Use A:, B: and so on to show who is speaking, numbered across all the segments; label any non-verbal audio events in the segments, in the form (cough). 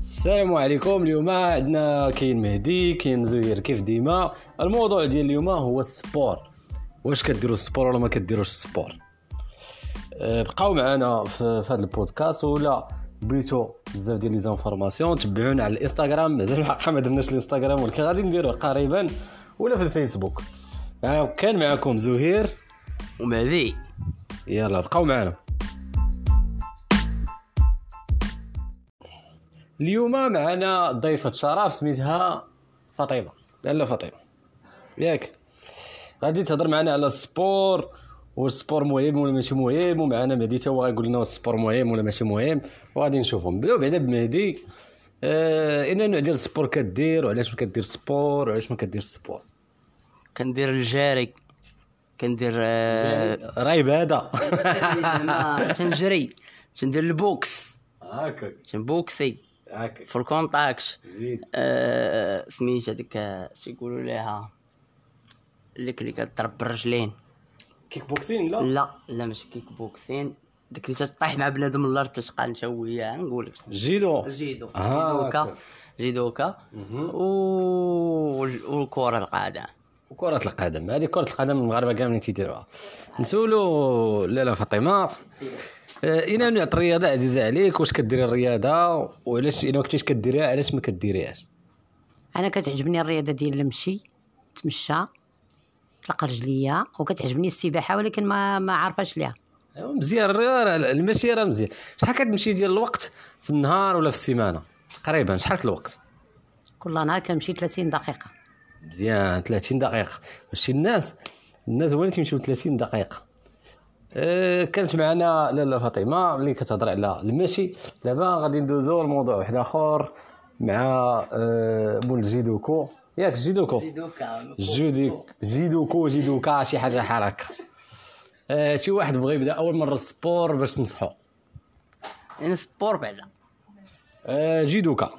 A: السلام عليكم اليوم عندنا كاين مهدي كاين زهير كيف ديما الموضوع ديال اليوم هو السبور واش كديروا السبور ولا ما كديروش السبور أه، بقاو معنا في في هذا البودكاست ولا بغيتو بزاف ديال لي زانفورماسيون تبعونا على الانستغرام مازال الحق ما درناش الانستغرام ولكن غادي نديروه قريبا ولا في الفيسبوك معايا- كان معكم زهير
B: ومهدي
A: يلا بقاو معنا اليوم معنا ضيفة شرف سميتها فاطمة لاله فاطمة ياك غادي تهضر معنا على السبور واش السبور مهم ولا ماشي مهم ومعنا مهدي تا هو غايقول لنا واش السبور مهم ولا ماشي مهم وغادي نشوفهم نبداو بعدا بمهدي آه ايه النوع ديال السبور كدير وعلاش ما كدير السبور وعلاش ما كديرش السبور
B: كندير الجاري كندير آه،
A: رايب (laughs) هذا
B: (laughs) أنا تنجري تندير البوكس
A: هاكا
B: تنبوكسي
A: هاكا
B: في الكونتاكت
A: زيد
B: آه، سميت هذيك آه، شي يقولوا ليها ديك اللي كضرب بالرجلين
A: كيك بوكسين لا
B: لا لا ماشي كيك بوكسين ديك اللي تطيح مع بنادم الارض تتقان انت وياه نقول لك
A: جيدو
B: جيدو
A: آه،
B: جيدوكا
A: أوكي.
B: جيدوكا
A: مهم.
B: و- والكره القاعده
A: وكرة القدم هذه كرة القدم المغاربة كاملين تيديروها نسولو لاله فاطمة آه، إلى نوع الرياضة عزيزة عليك واش كديري الرياضة وعلاش إلا ما كنتيش كديريها علاش ما كديريهاش
C: انا كتعجبني الرياضه ديال المشي تمشى طلق رجليا وكتعجبني السباحه ولكن ما ما عارفاش ليها
A: أيوا مزيان الرياضة راه المشي راه مزيان شحال كتمشي ديال الوقت في النهار ولا في السيمانة تقريبا شحال الوقت
C: كل نهار كنمشي 30 دقيقه
A: مزيان 30 دقيقة ماشي الناس الناس هو اللي تيمشيو 30 دقيقة أه كانت معنا لاله فاطمة اللي كتهضر على المشي دابا غادي ندوزو لموضوع واحد آخر مع أه مول جيدوكو ياك جيدوكو
B: جيدوكا
A: جودي جيدوكو جيدوكا شي حاجة بحال هكا أه شي واحد بغى يبدا أول مرة السبور باش تنصحو
B: يعني سبور بعدا
A: أه جيدوكا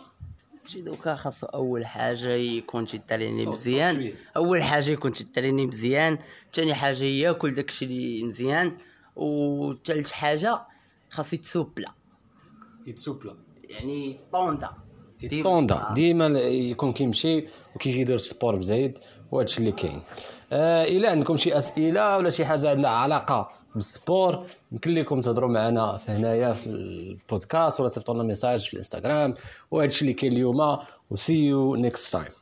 B: جيدوكا خاصو اول حاجه يكون تيتاليني
A: صوت- صوت
B: مزيان
A: شوية.
B: اول حاجه يكون تيتاليني مزيان ثاني حاجه ياكل داكشي اللي مزيان وثالث حاجه خاصو يتسوبلا
A: يتسوبلا
B: يعني طوندا ديما. آه.
A: طوندا ديما يكون كيمشي وكيف يدير السبور بزايد وهادشي اللي كاين آه الا عندكم شي اسئله ولا شي حاجه عندها علاقه بالسبور يمكن لكم تهضروا معنا في هنايا في البودكاست ولا تصيفطوا لنا ميساج في الانستغرام وهادشي اللي كاين اليوم وسي يو نيكست تايم